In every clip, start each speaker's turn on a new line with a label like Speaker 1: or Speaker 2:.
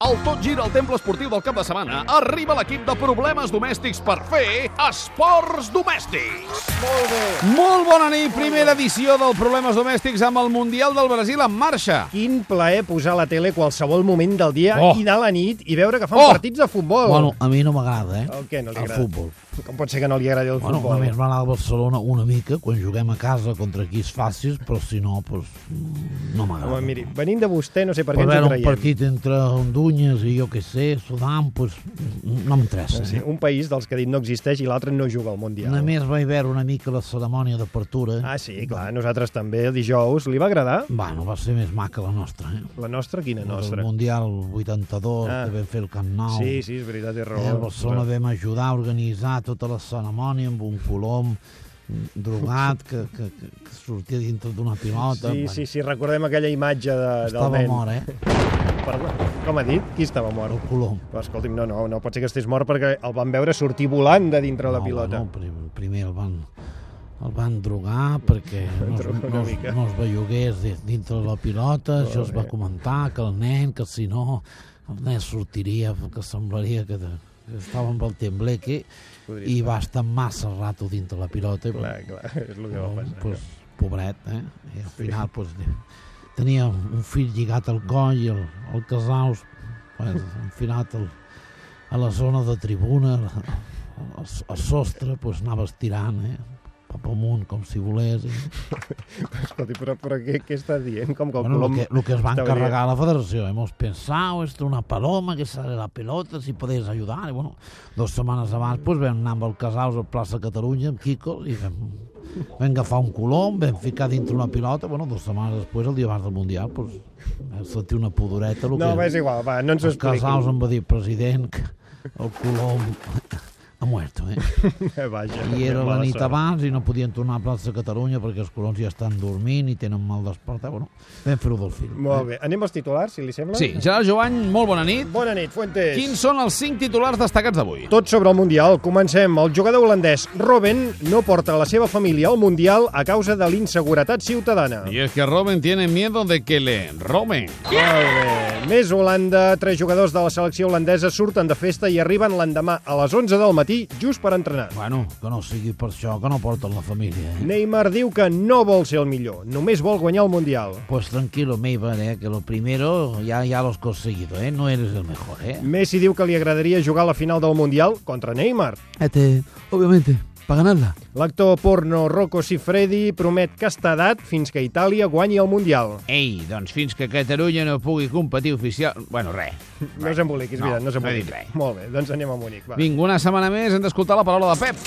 Speaker 1: Al Tot Gira al Temple Esportiu del cap de setmana arriba l'equip de problemes domèstics per fer esports domèstics.
Speaker 2: Molt bona nit, primera edició del Problemes Domèstics amb el Mundial del Brasil en marxa.
Speaker 3: Quin plaer posar a la tele qualsevol moment del dia
Speaker 2: Oh.
Speaker 3: i de la nit i veure que fan
Speaker 2: Oh.
Speaker 3: partits de futbol.
Speaker 4: Bueno, a mi no m'agrada, eh?
Speaker 3: El què no li
Speaker 4: el
Speaker 3: agrada?
Speaker 4: futbol.
Speaker 3: Com pot ser que no li agradi el
Speaker 4: Bueno,
Speaker 3: futbol?
Speaker 4: només m'agrada el Barcelona una mica, quan juguem a casa contra qui es facis, però si no, doncs, mm, no m'agrada.
Speaker 3: Home, miri, venint de vostè, no sé per
Speaker 4: Per
Speaker 3: què ens ho
Speaker 4: veure un
Speaker 3: traiem.
Speaker 4: partit entre Hondunyes i jo què sé, Sudan, doncs, mm, no m'interessa.
Speaker 3: Sí,
Speaker 4: Sí.
Speaker 3: un país dels que ha dit no existeix i l'altre no juga al Mundial.
Speaker 4: Només vaig veure una mica la cerimònia d'apertura.
Speaker 3: Ah, sí, clar, nosaltres també, el dijous. Li va agradar?
Speaker 4: Bueno, va ser més maca la nostra, eh?
Speaker 3: La nostra, quina
Speaker 4: El
Speaker 3: nostra?
Speaker 4: Mundial 82,
Speaker 3: Ah.
Speaker 4: ah. que vam fer el Camp Nou.
Speaker 3: Sí, sí, és veritat, és
Speaker 4: Eh,
Speaker 3: raó.
Speaker 4: a Barcelona vam ajudar a organitzar tota la cerimònia amb un colom drogat que, que, que, que sortia dintre d'una pilota.
Speaker 3: Sí, sí, sí, recordem aquella imatge de, del
Speaker 4: Estava
Speaker 3: nen.
Speaker 4: mort, eh?
Speaker 3: Perdó, com ha dit? Qui estava
Speaker 4: El
Speaker 3: mort?
Speaker 4: colom.
Speaker 3: Però, escolti'm, no, no, no pot ser que estés mort perquè el van veure sortir volant de dintre la
Speaker 4: No,
Speaker 3: pilota.
Speaker 4: No, prim- primer el van, el van drogar perquè no es,
Speaker 3: Drogar una
Speaker 4: no, es,
Speaker 3: mica.
Speaker 4: no es bellugués des- dintre la pilota. Això es va comentar, que el nen, que si no, el nen sortiria, que semblaria que, de, que estava amb el tembleque i va estar massa rato dintre la pilota. i
Speaker 3: Clar, clar, és el que va
Speaker 4: Bueno,
Speaker 3: passar.
Speaker 4: pues, pobret, eh? I al final pues, tenia un fill lligat al coll i el, el Casaus pues, enfilat al, a la zona de tribuna, al, al sostre, pues, anava estirant, eh? cap amunt, com si volés. I...
Speaker 3: Escolti, però, però què, què està dient? Com que el
Speaker 4: Bueno, lo,
Speaker 3: Colom...
Speaker 4: que, lo que es va
Speaker 3: estava
Speaker 4: encargar la federación. Hemos pensado, esto una paloma que sale la pelota, si podéis ayudar. I, bueno, dos setmanes abans pues, vam anar amb el Casals a plaça Catalunya, amb Quico, i vam, vam agafar un colom, vam ficar dintre una pilota. Bueno, dos setmanes després, el dia abans del Mundial, pues, vam sentir una pudoreta. Lo
Speaker 3: No,
Speaker 4: que
Speaker 3: va, és igual, va, no ens ho
Speaker 4: el Casals
Speaker 3: expliqui.
Speaker 4: em va dir, president, que el colom ha muerto, eh?
Speaker 3: Vaja,
Speaker 4: I era la
Speaker 3: mala
Speaker 4: nit
Speaker 3: sort.
Speaker 4: abans i no podien tornar a plaça Catalunya perquè els colons ja estan dormint i tenen mal despertar. Bueno, vam fer-ho del film.
Speaker 3: Molt bé, anem als titulars, si li sembla?
Speaker 2: Sí, Gerard Jovany, molt bona nit.
Speaker 3: Bona nit, Fuentes.
Speaker 2: Quins són els cinc titulars destacats d'avui?
Speaker 3: Tot sobre el Mundial. Comencem. El jugador holandès Robben no porta la seva família al Mundial a causa de l'inseguretat ciutadana.
Speaker 2: Y es que Robin tiene miedo de que le roben.
Speaker 3: Molt bé. Més Holanda. Tres jugadors de la selecció holandesa surten de festa i arriben l'endemà a les 11 del matí just per entrenar.
Speaker 4: Bueno, que no sigui per això, que no porten la família, eh?
Speaker 3: Neymar diu que no vol ser el millor, només vol guanyar el Mundial.
Speaker 4: Pues tranquilo, Meibar, eh, que lo primero ya, ya lo has conseguido, eh? No eres el mejor, eh?
Speaker 3: Messi diu que li agradaria jugar a la final del Mundial contra Neymar.
Speaker 4: Este, obviamente, para ganarla.
Speaker 3: L'actor porno Rocco Siffredi promet castedat fins que Itàlia guanyi el Mundial.
Speaker 2: Ei, doncs fins que Catalunya no pugui competir oficial... Bueno, res.
Speaker 3: No s'emboliquis, mira, no,
Speaker 2: no he
Speaker 3: s'emboliquis.
Speaker 2: dit res.
Speaker 3: Molt bé, doncs anem a Múnich, va.
Speaker 2: Vinga, una setmana més hem d'escoltar la paraula de Pep.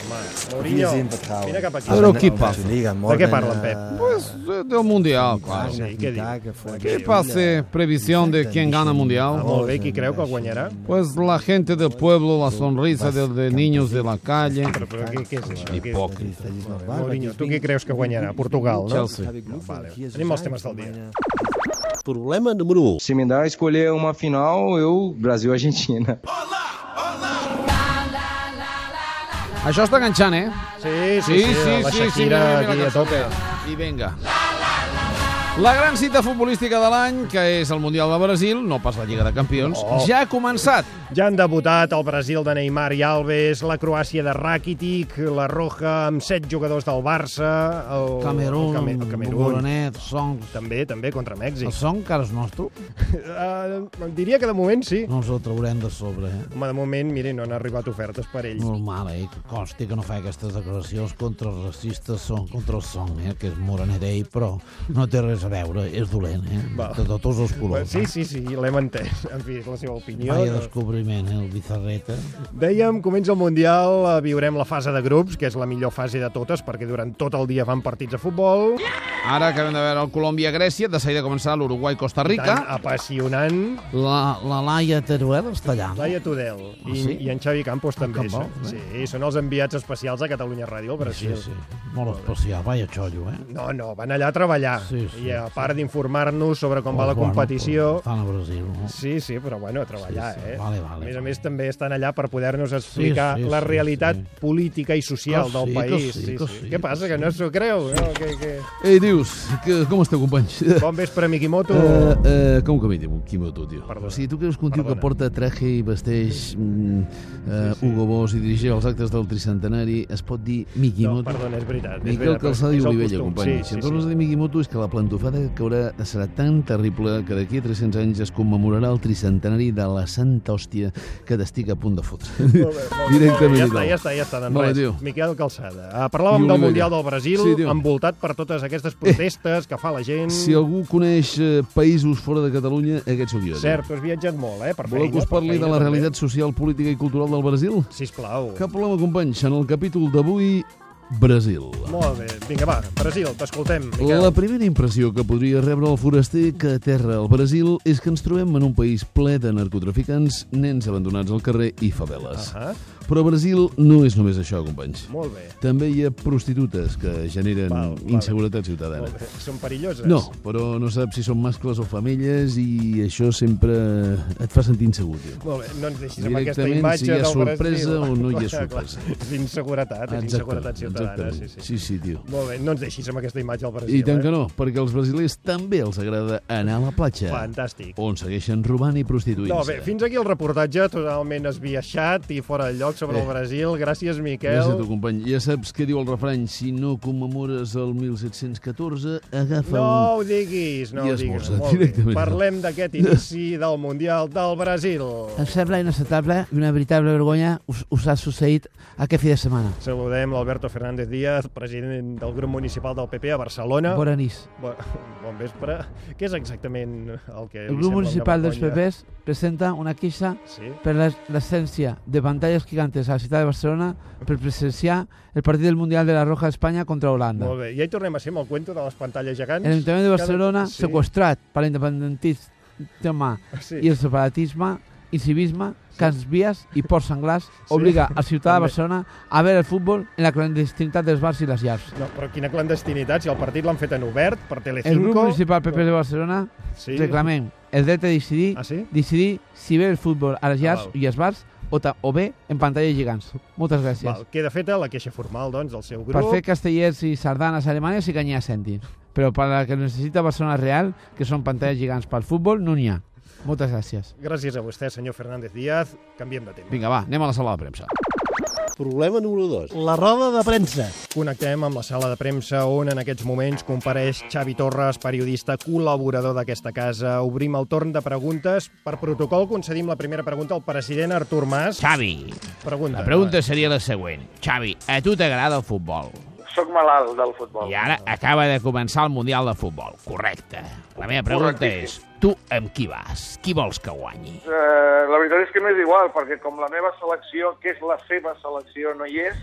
Speaker 3: Mourinho, vine cap aquí.
Speaker 2: A veure qui passa.
Speaker 3: De què parlen, Pep?
Speaker 2: Pues eh, del Mundial, claro.
Speaker 3: Sí, què
Speaker 2: eh,
Speaker 3: diu?
Speaker 2: ¿Qué pase previsión de quién gana Mundial?
Speaker 3: Ah, molt bé, qui creu que el guanyarà?
Speaker 2: Pues la gente del pueblo, la sonrisa de, de niños de la calle.
Speaker 3: Però, però què, què és això? Què-
Speaker 2: Hipòcrita.
Speaker 3: Mourinho, tu què creus que guanyarà? Portugal, no?
Speaker 2: Chelsea.
Speaker 3: No, vale. Anem als temes del dia.
Speaker 5: Problema número 1.
Speaker 6: Se me dá a escolher uma final, eu Brasil-Argentina.
Speaker 2: Això està enganxant, eh?
Speaker 3: Sí,
Speaker 2: Sí,
Speaker 3: sí,
Speaker 2: sí, sí,
Speaker 3: la
Speaker 2: sí, sí,
Speaker 3: Shakira
Speaker 2: mira, mira
Speaker 3: aquí
Speaker 2: que
Speaker 3: a tope.
Speaker 2: surt, eh? I vinga. La gran cita futbolística de l'any, que és el Mundial de Brasil, no pas la Lliga de Campions,
Speaker 3: Oh.
Speaker 2: ja ha començat.
Speaker 3: Ja han debutat el Brasil de Neymar i Alves, la Croàcia de Rakitic, la Roja amb set jugadors del Barça, el
Speaker 4: Oh,
Speaker 3: el Came-
Speaker 4: Camerún, Camerún,
Speaker 3: el Camerún
Speaker 4: Bolonet, Songs...
Speaker 3: també, també contra
Speaker 4: El
Speaker 3: Mèxic.
Speaker 4: Song, que ara és nostre,
Speaker 3: Uh, diria que de moment sí.
Speaker 4: no ens el traurem de sobre, eh?
Speaker 3: Home, de moment, mire, no han arribat ofertes per ell.
Speaker 4: Normal, eh? Que consti que no fa aquestes declaracions contra els racistes, són contra el Song, eh? Que és morenet ell, però no té res a veure, és dolent, eh?
Speaker 3: Va.
Speaker 4: De, de tots els
Speaker 3: Bueno,
Speaker 4: colors.
Speaker 3: Sí, sí, sí, l'hem entès. En fi, és la seva opinió.
Speaker 4: Vaya descobriment, eh? El Bizarreta.
Speaker 3: Dèiem, comença el Mundial, eh, viurem la fase de grups, que és la millor fase de totes, perquè durant tot el dia fan partits de futbol.
Speaker 2: Ara acabem de veure el Colòmbia-Grècia, de seguida començarà l'Uruguai-Costa Rica.
Speaker 3: Tan apassionant.
Speaker 4: La, la Laia Teruel està allà. no?
Speaker 3: Laia Tudel i,
Speaker 4: Ah, sí? Ah,
Speaker 3: i en Xavi Campos també.
Speaker 4: Campos, eh?
Speaker 3: són, sí, són els enviats especials a Catalunya Ràdio al
Speaker 4: Sí,
Speaker 3: Brasil.
Speaker 4: sí. Molt especial. Vaya xollo, eh?
Speaker 3: No, no, van allà a treballar.
Speaker 4: Sí, sí.
Speaker 3: I a part d'informar-nos sobre com va la
Speaker 4: Bueno,
Speaker 3: competició...
Speaker 4: pues, Estan a Brasil, no?
Speaker 3: Sí, sí, però bueno, a treballar,
Speaker 4: Sí, sí,
Speaker 3: eh?
Speaker 4: vale, vale,
Speaker 3: a més a
Speaker 4: vale.
Speaker 3: més, també estan allà per poder-nos explicar
Speaker 4: Sí, sí,
Speaker 3: la
Speaker 4: sí,
Speaker 3: realitat
Speaker 4: sí.
Speaker 3: política i social
Speaker 4: Que
Speaker 3: del
Speaker 4: sí, que
Speaker 3: país.
Speaker 4: sí, que sí,
Speaker 3: Què
Speaker 4: que
Speaker 3: passa,
Speaker 4: sí.
Speaker 3: que no s'ho creu? No? Que, que...
Speaker 2: Ei, dius, que, com esteu, companys?
Speaker 3: Bon vespre, Miquimoto.
Speaker 2: Eh, eh, com que m'he Quimoto, tio?
Speaker 3: Perdona.
Speaker 2: O sigui, tu que eres un tio que
Speaker 3: Perdona.
Speaker 2: porta traje i vesteix mm, eh, Hugo Boss i dirigeix els actes del tricentenari, es pot dir
Speaker 3: No,
Speaker 2: Mikimoto?
Speaker 3: perdona, és veritat. és
Speaker 2: Miquel
Speaker 3: veritat, però
Speaker 2: Calçada i
Speaker 3: és el
Speaker 2: Olivella,
Speaker 3: costum.
Speaker 2: company.
Speaker 3: Sí,
Speaker 2: si
Speaker 3: sí,
Speaker 2: em tornes a dir Mikimoto és que la plantofada que haurà serà tan terrible que d'aquí a 300 anys es commemorarà el tricentenari de la santa hòstia que t'estic a punt de fotre. Directament. i
Speaker 3: Ja està,
Speaker 2: tal.
Speaker 3: ja està, ja està, doncs
Speaker 2: Vale,
Speaker 3: res.
Speaker 2: tio.
Speaker 3: Miquel Calçada. Ah,
Speaker 2: I
Speaker 3: parlàvem del
Speaker 2: Olivella.
Speaker 3: Mundial del Brasil,
Speaker 2: Sí, Eh. tio.
Speaker 3: envoltat per totes aquestes protestes que fa la gent.
Speaker 2: Si algú coneix eh, països fora de Catalunya, aquest sóc jo. tio.
Speaker 3: Cert, tu has viatjat molt, eh? Per
Speaker 2: Voleu
Speaker 3: feina,
Speaker 2: que us
Speaker 3: per
Speaker 2: parli
Speaker 3: feina
Speaker 2: de la
Speaker 3: també.
Speaker 2: realitat social, política i cultural del Brasil?
Speaker 3: Sisplau.
Speaker 2: Cap problema, companys. En el capítol d'avui, Brasil.
Speaker 3: Molt bé. Vinga, va, Brasil, t'escoltem, Miquel.
Speaker 2: La primera impressió que podria rebre el foraster que aterra al Brasil és que ens trobem en un país ple de narcotraficants, nens abandonats al carrer i faveles.
Speaker 3: Ah,
Speaker 2: Però Brasil no és només això, companys.
Speaker 3: molt bé.
Speaker 2: També hi ha prostitutes que generen
Speaker 3: Val, val.
Speaker 2: inseguretat ciutadana.
Speaker 3: Molt bé. Són perilloses.
Speaker 2: No, però no saps si són mascles o femelles i això sempre et fa sentir insegur, tio.
Speaker 3: Molt bé, no ens deixis amb aquesta
Speaker 2: Directament,
Speaker 3: imatge
Speaker 2: si hi ha
Speaker 3: del
Speaker 2: sorpresa
Speaker 3: Brasil.
Speaker 2: o no hi ha
Speaker 3: Clar, clar.
Speaker 2: sorpresa.
Speaker 3: És inseguretat, és inseguretat ciutadana.
Speaker 2: exactament.
Speaker 3: Sí,
Speaker 2: sí,
Speaker 3: sí.
Speaker 2: sí, tio.
Speaker 3: Molt bé, no ens deixis amb aquesta imatge del Brasil.
Speaker 2: I tant
Speaker 3: eh?
Speaker 2: que no, perquè als brasilers també els agrada anar a la platja,
Speaker 3: Fantàstic.
Speaker 2: on segueixen robant i prostituint-se.
Speaker 3: No, bé, fins aquí el reportatge totalment esbiaixat i fora de lloc sobre
Speaker 2: Eh.
Speaker 3: el Brasil. Gràcies, Miquel.
Speaker 2: Gràcies a tu, company. Ja saps què diu el refrany. Si no commemores el 1714, agafa
Speaker 3: No
Speaker 2: un...
Speaker 3: ho diguis, no
Speaker 2: I
Speaker 3: ho diguis.
Speaker 2: esmorza,
Speaker 3: Molt bé.
Speaker 2: directament.
Speaker 3: Parlem d'aquest inici del Mundial del Brasil.
Speaker 4: Em sembla inacceptable i una veritable vergonya us, us ha succeït aquest fi de setmana.
Speaker 3: Saludem l'Alberto Fernández Díaz, president del grup municipal del PP a Barcelona.
Speaker 4: Bona nit.
Speaker 3: Bon, bon vespre. Què és exactament el que
Speaker 4: El
Speaker 3: li
Speaker 4: grup
Speaker 3: sembla
Speaker 4: municipal
Speaker 3: una
Speaker 4: dels
Speaker 3: vergonya?
Speaker 4: PPs presenta una queixa
Speaker 3: Sí?
Speaker 4: per l'es- l'essència de pantalles gigantes a la ciutat de Barcelona per presenciar el partit del Mundial de la Roja d'Espanya contra Holanda.
Speaker 3: Molt bé. I ahí tornem a ser amb el cuento de les pantalles gegants.
Speaker 4: L'Ajuntament de
Speaker 3: Cada-
Speaker 4: Barcelona,
Speaker 3: Sí.
Speaker 4: sequestrat per l'independentisme
Speaker 3: Sí.
Speaker 4: i el separatisme i civisme, cants vies i ports senglars, obliga a la ciutat de
Speaker 3: també.
Speaker 4: Barcelona a veure el futbol en la clandestinitat dels bars i les llars.
Speaker 3: No, però quina clandestinitat, si el partit l'han fet en obert, per
Speaker 4: El
Speaker 3: Telecinco...
Speaker 4: grup municipal PP de Barcelona
Speaker 3: Sí?
Speaker 4: reclamem el dret a decidir
Speaker 3: Ah, sí?
Speaker 4: decidir si ve el futbol a les llars
Speaker 3: Ah, val.
Speaker 4: i als bars o, ta, o bé en pantalles gegants. Moltes gràcies.
Speaker 3: Val, queda feta la queixa formal, doncs, del seu grup.
Speaker 4: Per fer castellers i sardanes alemanes sí que n'hi ha cèntims. Però per la que necessita Barcelona Real, que són pantalles gegants pel futbol, no n'hi ha. Moltes gràcies.
Speaker 3: Gràcies a vostè, senyor Fernández Díaz. Canviem de tema.
Speaker 2: Vinga, va, anem a la sala de premsa.
Speaker 5: Problema número 2.
Speaker 7: La roda de premsa.
Speaker 3: Connectem amb la sala de premsa on en aquests moments compareix Xavi Torres, periodista col·laborador d'aquesta casa. Obrim el torn de preguntes. Per protocol concedim la primera pregunta al president Artur Mas.
Speaker 8: Xavi,
Speaker 3: Pregunta.
Speaker 8: la pregunta seria la següent. Xavi, a tu t'agrada el futbol
Speaker 9: Soc malalt del futbol.
Speaker 8: i ara acaba de començar el Mundial de Futbol, correcte. La meva pregunta és, tu amb qui vas? Qui vols que guanyi?
Speaker 9: Eh, la veritat és que m'és igual, perquè com la meva selecció, que és la seva selecció, no hi és,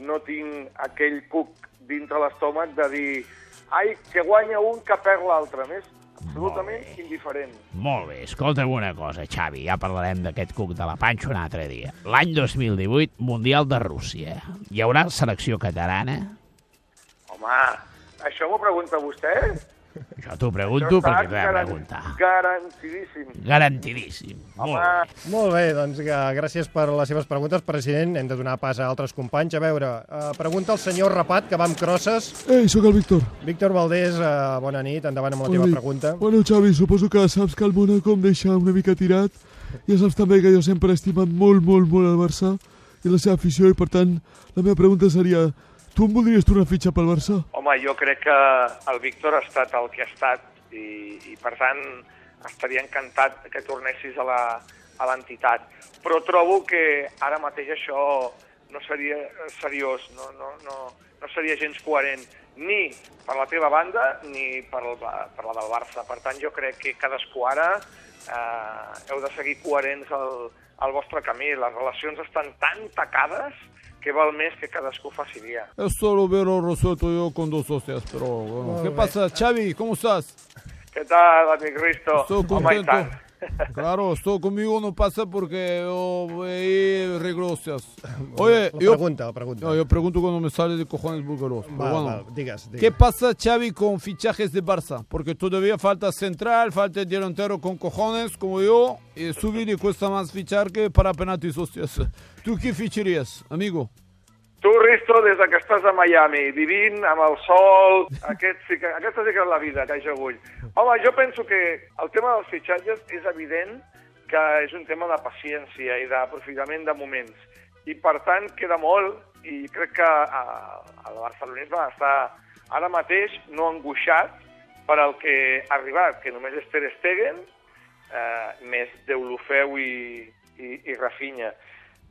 Speaker 9: no tinc aquell cuc dintre l'estómac de dir ai, que guanya un, que perd l'altre. M'és absolutament indiferent.
Speaker 8: Molt bé, escolta'm una cosa, Xavi, ja parlarem d'aquest cuc de la panxa un altre dia. L'any 2018, Mundial de Rússia. Hi haurà selecció catalana?
Speaker 9: Home, això m'ho pregunta vostè?
Speaker 8: Jo t'ho
Speaker 9: Això
Speaker 8: pregunto
Speaker 9: està
Speaker 8: perquè t'he de
Speaker 9: garan-
Speaker 8: preguntar.
Speaker 9: Garantidíssim.
Speaker 8: Garantidíssim. Molt bé.
Speaker 9: Ah,
Speaker 3: Molt bé, doncs eh, gràcies per les seves preguntes, president. Hem de donar pas a altres companys. A veure, eh, pregunta al senyor Rapat, que va amb crosses.
Speaker 10: Ei, sóc el Víctor.
Speaker 3: Víctor Valdés, eh, bona nit, endavant amb la teva
Speaker 10: Bona nit.
Speaker 3: pregunta.
Speaker 10: Bueno, Xavi, suposo que saps que el Mónaco em deixa una mica tirat. Ja saps també que jo sempre he estimat molt, molt, molt el Barça i la seva afició, i per tant, la meva pregunta seria tu em voldries tornar a fitxar pel Barça?
Speaker 9: Home, jo crec que el Víctor ha estat el que ha estat i, i per tant, estaria encantat que tornessis a la- a l'entitat. Però trobo que ara mateix això no seria eh, seriós, no, no, no, no seria gens coherent ni per la teva banda ni per, el, Ba- per la del Barça. Per tant, jo crec que cadascú ara eh, heu de seguir coherents al, al vostre camí. Les relacions estan tan tacades que val més que cadascú faci dia.
Speaker 10: Es solo vero rosueto yo con dos hostias, pero bueno. ¿Qué pasa, Xavi? ¿Cómo estás?
Speaker 9: Què tal, amic Risto?
Speaker 10: Estou
Speaker 9: Home, i
Speaker 10: contento.
Speaker 9: tant.
Speaker 7: Claro, esto conmigo no pasa porque yo veí reglosas.
Speaker 3: Oye,
Speaker 7: Oye,
Speaker 3: la
Speaker 7: yo,
Speaker 3: pregunta, la pregunta.
Speaker 7: No, yo pregunto cuando me sale de cojones búlgaros. pero
Speaker 3: Va,
Speaker 7: bueno.
Speaker 3: va, digas, digas.
Speaker 7: ¿Qué pasa, Xavi, con fichajes de Barça? Porque todavía falta central, falta delantero con cojones como yo. Y subir y cuesta más fichar que para penaltis, hostias. ¿Tú qué ficharías, amigo?
Speaker 9: Tu, Risto, des de que estàs a Miami, vivint amb el sol, aquest sí que, aquesta sí que és la vida que jo vull. Home, jo penso que el tema dels fitxatges és evident que és un tema de paciència i d'aprofitament de moments. I, per tant, queda molt i crec que eh, a, a la barcelonisme està ara mateix no angoixat per al que ha arribat, que només és Ter Stegen, eh, més Deulofeu i, i, i Rafinha.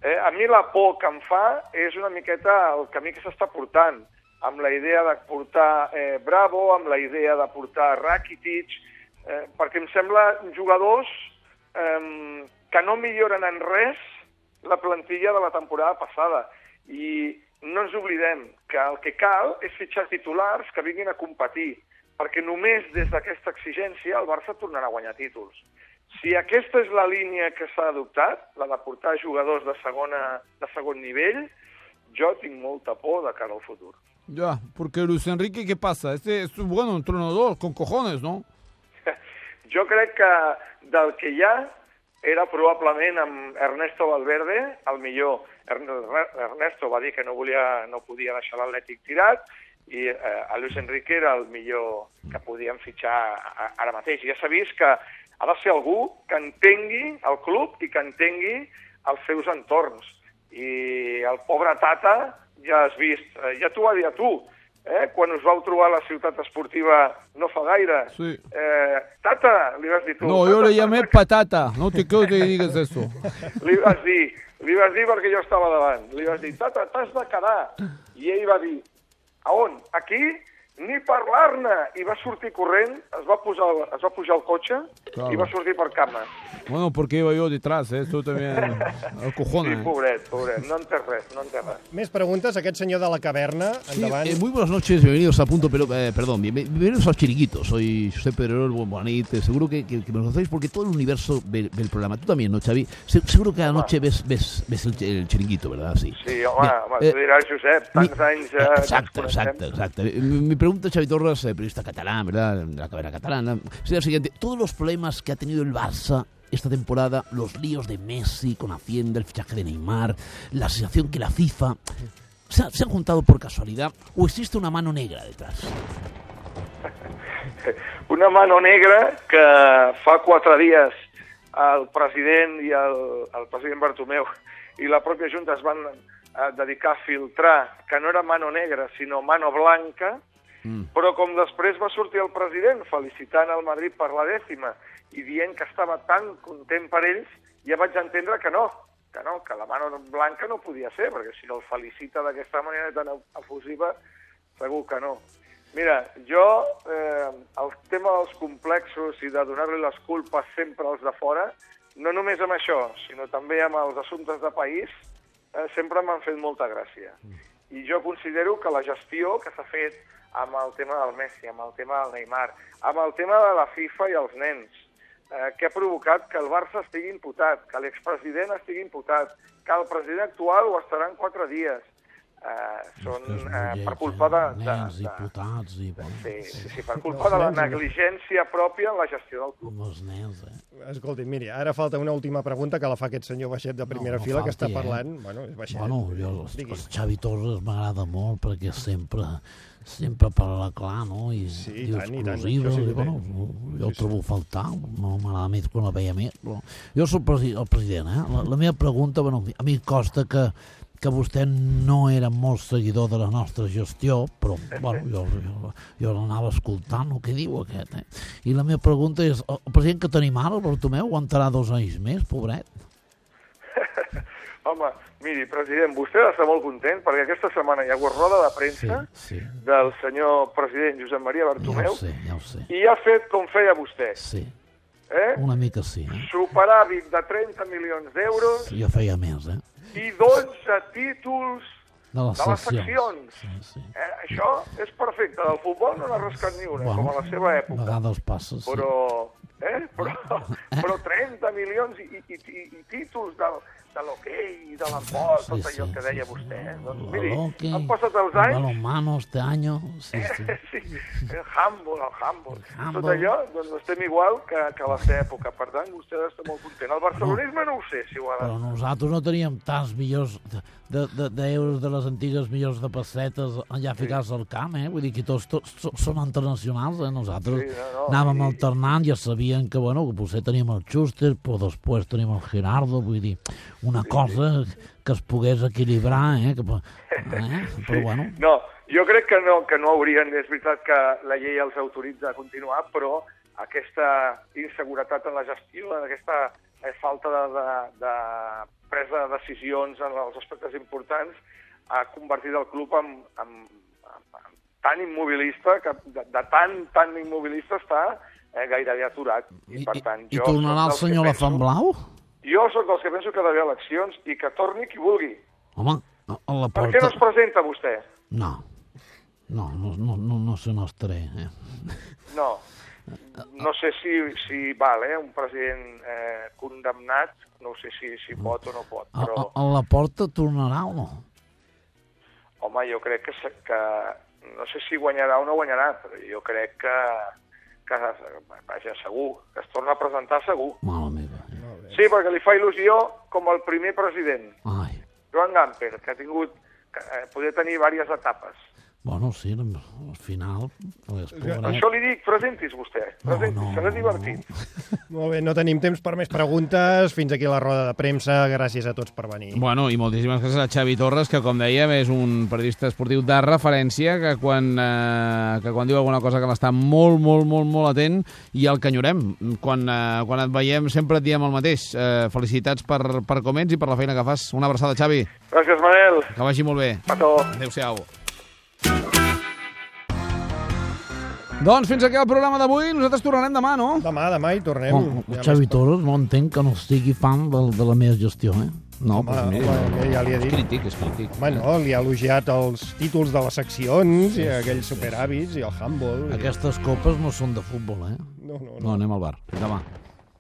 Speaker 9: Eh, a mi la por que em fa és una miqueta el camí que s'està portant, amb la idea de portar eh, Bravo, amb la idea de portar Rakitic, eh, perquè em sembla jugadors eh, que no milloren en res la plantilla de la temporada passada. I no ens oblidem que el que cal és fitxar titulars que vinguin a competir, perquè només des d'aquesta exigència el Barça tornarà a guanyar títols. Si aquesta és la línia que s'ha adoptat, la de portar jugadors de, segona, de segon nivell, jo tinc molta por de cara al futur.
Speaker 7: Ya, porque Luis Enrique, ¿qué pasa? Este es un buen entrenador con cojones, ¿no?
Speaker 9: Jo crec que del que hi ha era probablement amb Ernesto Valverde el millor. Ern- Ernesto va dir que no, volia, no podia deixar l'Atlètic tirat i eh, a Luis Enrique era el millor que podien fitxar a- a- ara mateix. Ja s'ha vist que ha de ser algú que entengui el club i que entengui els seus entorns. I el pobre Tata ja has vist, eh, ja t'ho va dir a tu, eh, quan us vau trobar a la ciutat esportiva no fa gaire.
Speaker 7: Sí.
Speaker 9: Eh, tata, li vas dir tu.
Speaker 7: No, yo le llamé patata. No te creo que digas eso.
Speaker 9: Li vas dir, li vas dir perquè jo estava davant. Li vas dir, tata, t'has de quedar. I ell va dir, a on? Aquí? Ni parlar-ne! I va sortir corrent, es va, posar, es va pujar al cotxe
Speaker 7: Claro.
Speaker 9: i va sortir per cama.
Speaker 7: Bueno, porque iba yo detrás, ¿eh? Tú también. eh,
Speaker 9: Sí,
Speaker 7: Cojones.
Speaker 9: pobret, pobret. No entès res, no entès res.
Speaker 3: Més preguntes, aquest senyor de la caverna, endavant.
Speaker 2: Eh, muy buenas noches, bienvenidos a Punto Pero... eh, perdón, bien- bienvenidos a Los Chiriquitos. Soy José Pererol, buen bonito. Seguro que, que- que me conocéis porque todo el universo ve, ve el programa. Tú también, ¿no, Xavi? Se- seguro que anoche ves, ves, ves el, el Chiriquito, ¿verdad? Sí.
Speaker 9: Sí, home,
Speaker 2: Mira,
Speaker 9: home
Speaker 2: eh,
Speaker 9: tu diràs, Josep, tants anys... Eh, que ens
Speaker 2: Exacto,
Speaker 9: coneixem.
Speaker 2: exacto, exacto. Eh, Mi mi pregunta, Xavi Torres, eh, periodista catalán, ¿verdad? De la cadena catalana, sería la siguiente. Todos los problemas que ha tenido el Barça esta temporada, los líos de Messi con Hacienda, el fichaje de Neymar, la sensación que la FIFA... ¿Se, ha- se han juntado por casualidad o existe una mano negra detrás?
Speaker 9: una mano negra que fa quatre dies el president i el, el president Bartomeu i la pròpia Junta es van eh, dedicar a filtrar que no era mano negra, sinó mano blanca, però com després va sortir el president felicitant el Madrid per la dècima i dient que estava tan content per ells, ja vaig entendre que no, que no, que la mano blanca no podia ser, perquè si el felicita d'aquesta manera tan efusiva, segur que no. Mira, jo, eh, el tema dels complexos i de donar-li les culpes sempre als de fora, no només amb això, sinó també amb els assumptes de país, eh, sempre m'han fet molta gràcia
Speaker 4: Mm.
Speaker 9: i jo considero que la gestió que s'ha fet amb el tema del Messi, amb el tema del Neymar, amb el tema de la FIFA i els nens, eh, que ha provocat que el Barça estigui imputat, que l'expresident estigui imputat, que el president actual ho estarà en quatre dies. Eh, són eh, per culpa de...
Speaker 2: eh,
Speaker 9: de,
Speaker 4: Nens,
Speaker 9: de
Speaker 4: diputats i... Bueno,
Speaker 9: sí, sí, sí, per culpa de la negligència pròpia en la gestió del club.
Speaker 4: Molts nens, eh?
Speaker 3: Escolti, miri, ara falta una última pregunta que la fa aquest senyor baixet de primera
Speaker 4: no
Speaker 3: fila que
Speaker 4: falti,
Speaker 3: està
Speaker 4: eh?
Speaker 3: parlant. Bueno, és baixet.
Speaker 4: Bueno, jo, els,
Speaker 3: Digui.
Speaker 4: els Xavi Torres m'agrada molt perquè sempre sempre parla clar, no? I, sí,
Speaker 3: i tant, i tant,
Speaker 4: exclusives,
Speaker 3: això sí que
Speaker 4: i, bueno, jo el trobo a faltar, no m'agrada més quan la veia més. Però... Jo sóc presi el president, eh? La, la meva pregunta, bueno, a mi em costa que que vostè no era molt seguidor de la nostra gestió, però bueno, jo, jo, jo l'anava escoltant el que diu aquest. Eh? I la meva pregunta és, el el president que tenim ara, el Bartomeu, aguantarà dos anys més, pobret?
Speaker 9: Home, miri, president, vostè ha d'estar molt content perquè aquesta setmana hi ha hagut roda de
Speaker 3: Ah.
Speaker 9: premsa
Speaker 4: sí.
Speaker 9: del senyor president Josep
Speaker 4: Ja
Speaker 9: Maria
Speaker 4: ho
Speaker 9: Bartomeu
Speaker 4: sé, ja ho sé.
Speaker 9: i ha fet com feia vostè.
Speaker 4: Sí,
Speaker 9: Eh?
Speaker 4: una mica sí, eh?
Speaker 9: superàvit de 30 milions d'euros
Speaker 4: Jo feia més, eh?
Speaker 9: i 12 títols
Speaker 4: De les
Speaker 9: de les
Speaker 4: seccions.
Speaker 9: seccions. Eh, això és perfecte. Del futbol no n'ha rascat ni una,
Speaker 4: Bueno,
Speaker 9: com a la seva
Speaker 4: A
Speaker 9: època.
Speaker 4: vegades passa, sí.
Speaker 9: Però eh? però, però 30 milions i, i, i, i títols del, de l'hoquei i de l'embol,
Speaker 4: Sí,
Speaker 9: tot
Speaker 4: sí,
Speaker 9: allò que deia vostè. Doncs, miri,
Speaker 4: L'hockey,
Speaker 9: han passat els
Speaker 4: el
Speaker 9: anys,
Speaker 4: balonmano este año. Sí, sí.
Speaker 9: sí, el handball, el handball.
Speaker 4: handball.
Speaker 9: Tot allò, doncs estem igual que, que a la seva època. Per tant, vostè està molt content. El barcelonisme no ho sé, si ho ha de...
Speaker 4: Però nosaltres no teníem tants millors d'euros de, de, d'euros de les antigues millors de pessetes allà ficats al camp, eh? Vull dir que tots, tots so- són internacionals, eh? Nosaltres
Speaker 9: Sí,
Speaker 4: sí,
Speaker 9: no, no,
Speaker 4: anàvem
Speaker 9: i-
Speaker 4: alternant, ja sabien que, bueno, que potser teníem el Schuster, però després teníem el Gerardo, vull dir, una cosa que es pogués equilibrar, eh? Que, po- eh? Però, bueno,
Speaker 9: No, jo crec que no, que no haurien, és veritat que la llei els autoritza a continuar, però aquesta inseguretat en la gestió, aquesta eh, falta de, de, de presa de decisions en els aspectes importants ha convertit el club en, en, en, en tan immobilista, que de, de tan, tan immobilista està eh, gairebé aturat. I, per tant,
Speaker 4: i
Speaker 9: jo
Speaker 4: tornarà
Speaker 9: sóc
Speaker 4: el
Speaker 9: dels que
Speaker 4: senyor
Speaker 9: penso-
Speaker 4: Lafan Blau?
Speaker 9: Jo sóc dels que penso que hi ha d'haver eleccions i que torni qui vulgui.
Speaker 4: Home, a a la
Speaker 9: Per què
Speaker 4: porta...
Speaker 9: no es presenta vostè?
Speaker 4: No, no, no, no, no, no se n'estaré, eh?
Speaker 9: No. No sé si, si val, eh? Un president eh, condemnat, no sé si, si pot o no pot,
Speaker 4: A,
Speaker 9: però,
Speaker 4: a, a la porta tornarà o no?
Speaker 9: home, jo crec que, se- que no sé si guanyarà o no guanyarà, però jo crec que, que vaja, segur, que es torna a presentar segur.
Speaker 4: Mala meva.
Speaker 9: Sí, perquè li fa il·lusió com el primer president,
Speaker 4: Ai,
Speaker 9: Joan Gamper, que ha tingut que, eh, poder tenir diverses etapes.
Speaker 4: bueno, sí, al final... Pues,
Speaker 9: Per
Speaker 4: pobret.
Speaker 9: això li dic, presentis vostè, presentis, no, no, serà divertit.
Speaker 3: Molt bé, no tenim temps per més preguntes. Fins aquí la roda de premsa. Gràcies a tots per venir.
Speaker 7: Bueno, i moltíssimes gràcies a Xavi Torres, que com dèiem és un periodista esportiu de referència, que quan, eh, que quan diu alguna cosa que l'està molt, molt, molt, molt atent i el canyorem. Quan, eh, quan et veiem sempre et diem el mateix. Eh, felicitats per, per com ets i per la feina que fas. Una abraçada, Xavi.
Speaker 9: Gràcies, Manel.
Speaker 7: Que vagi molt bé.
Speaker 9: Petó.
Speaker 7: Adéu-siau. Doncs fins aquí el programa d'avui. Nosaltres tornarem demà, no?
Speaker 3: Demà, demà hi tornem.
Speaker 4: Bueno, Xavi Torres no entenc que no sigui fan de, de la meva gestió, eh? No,
Speaker 3: Ah, Home, home, ja li he dit.
Speaker 7: És crític, és crític.
Speaker 3: Home, no, li ha elogiat els títols de les seccions i aquells superàvits i el handball. I...
Speaker 4: Aquestes copes no són de futbol, eh?
Speaker 3: No, no,
Speaker 7: No, anem al bar. Demà.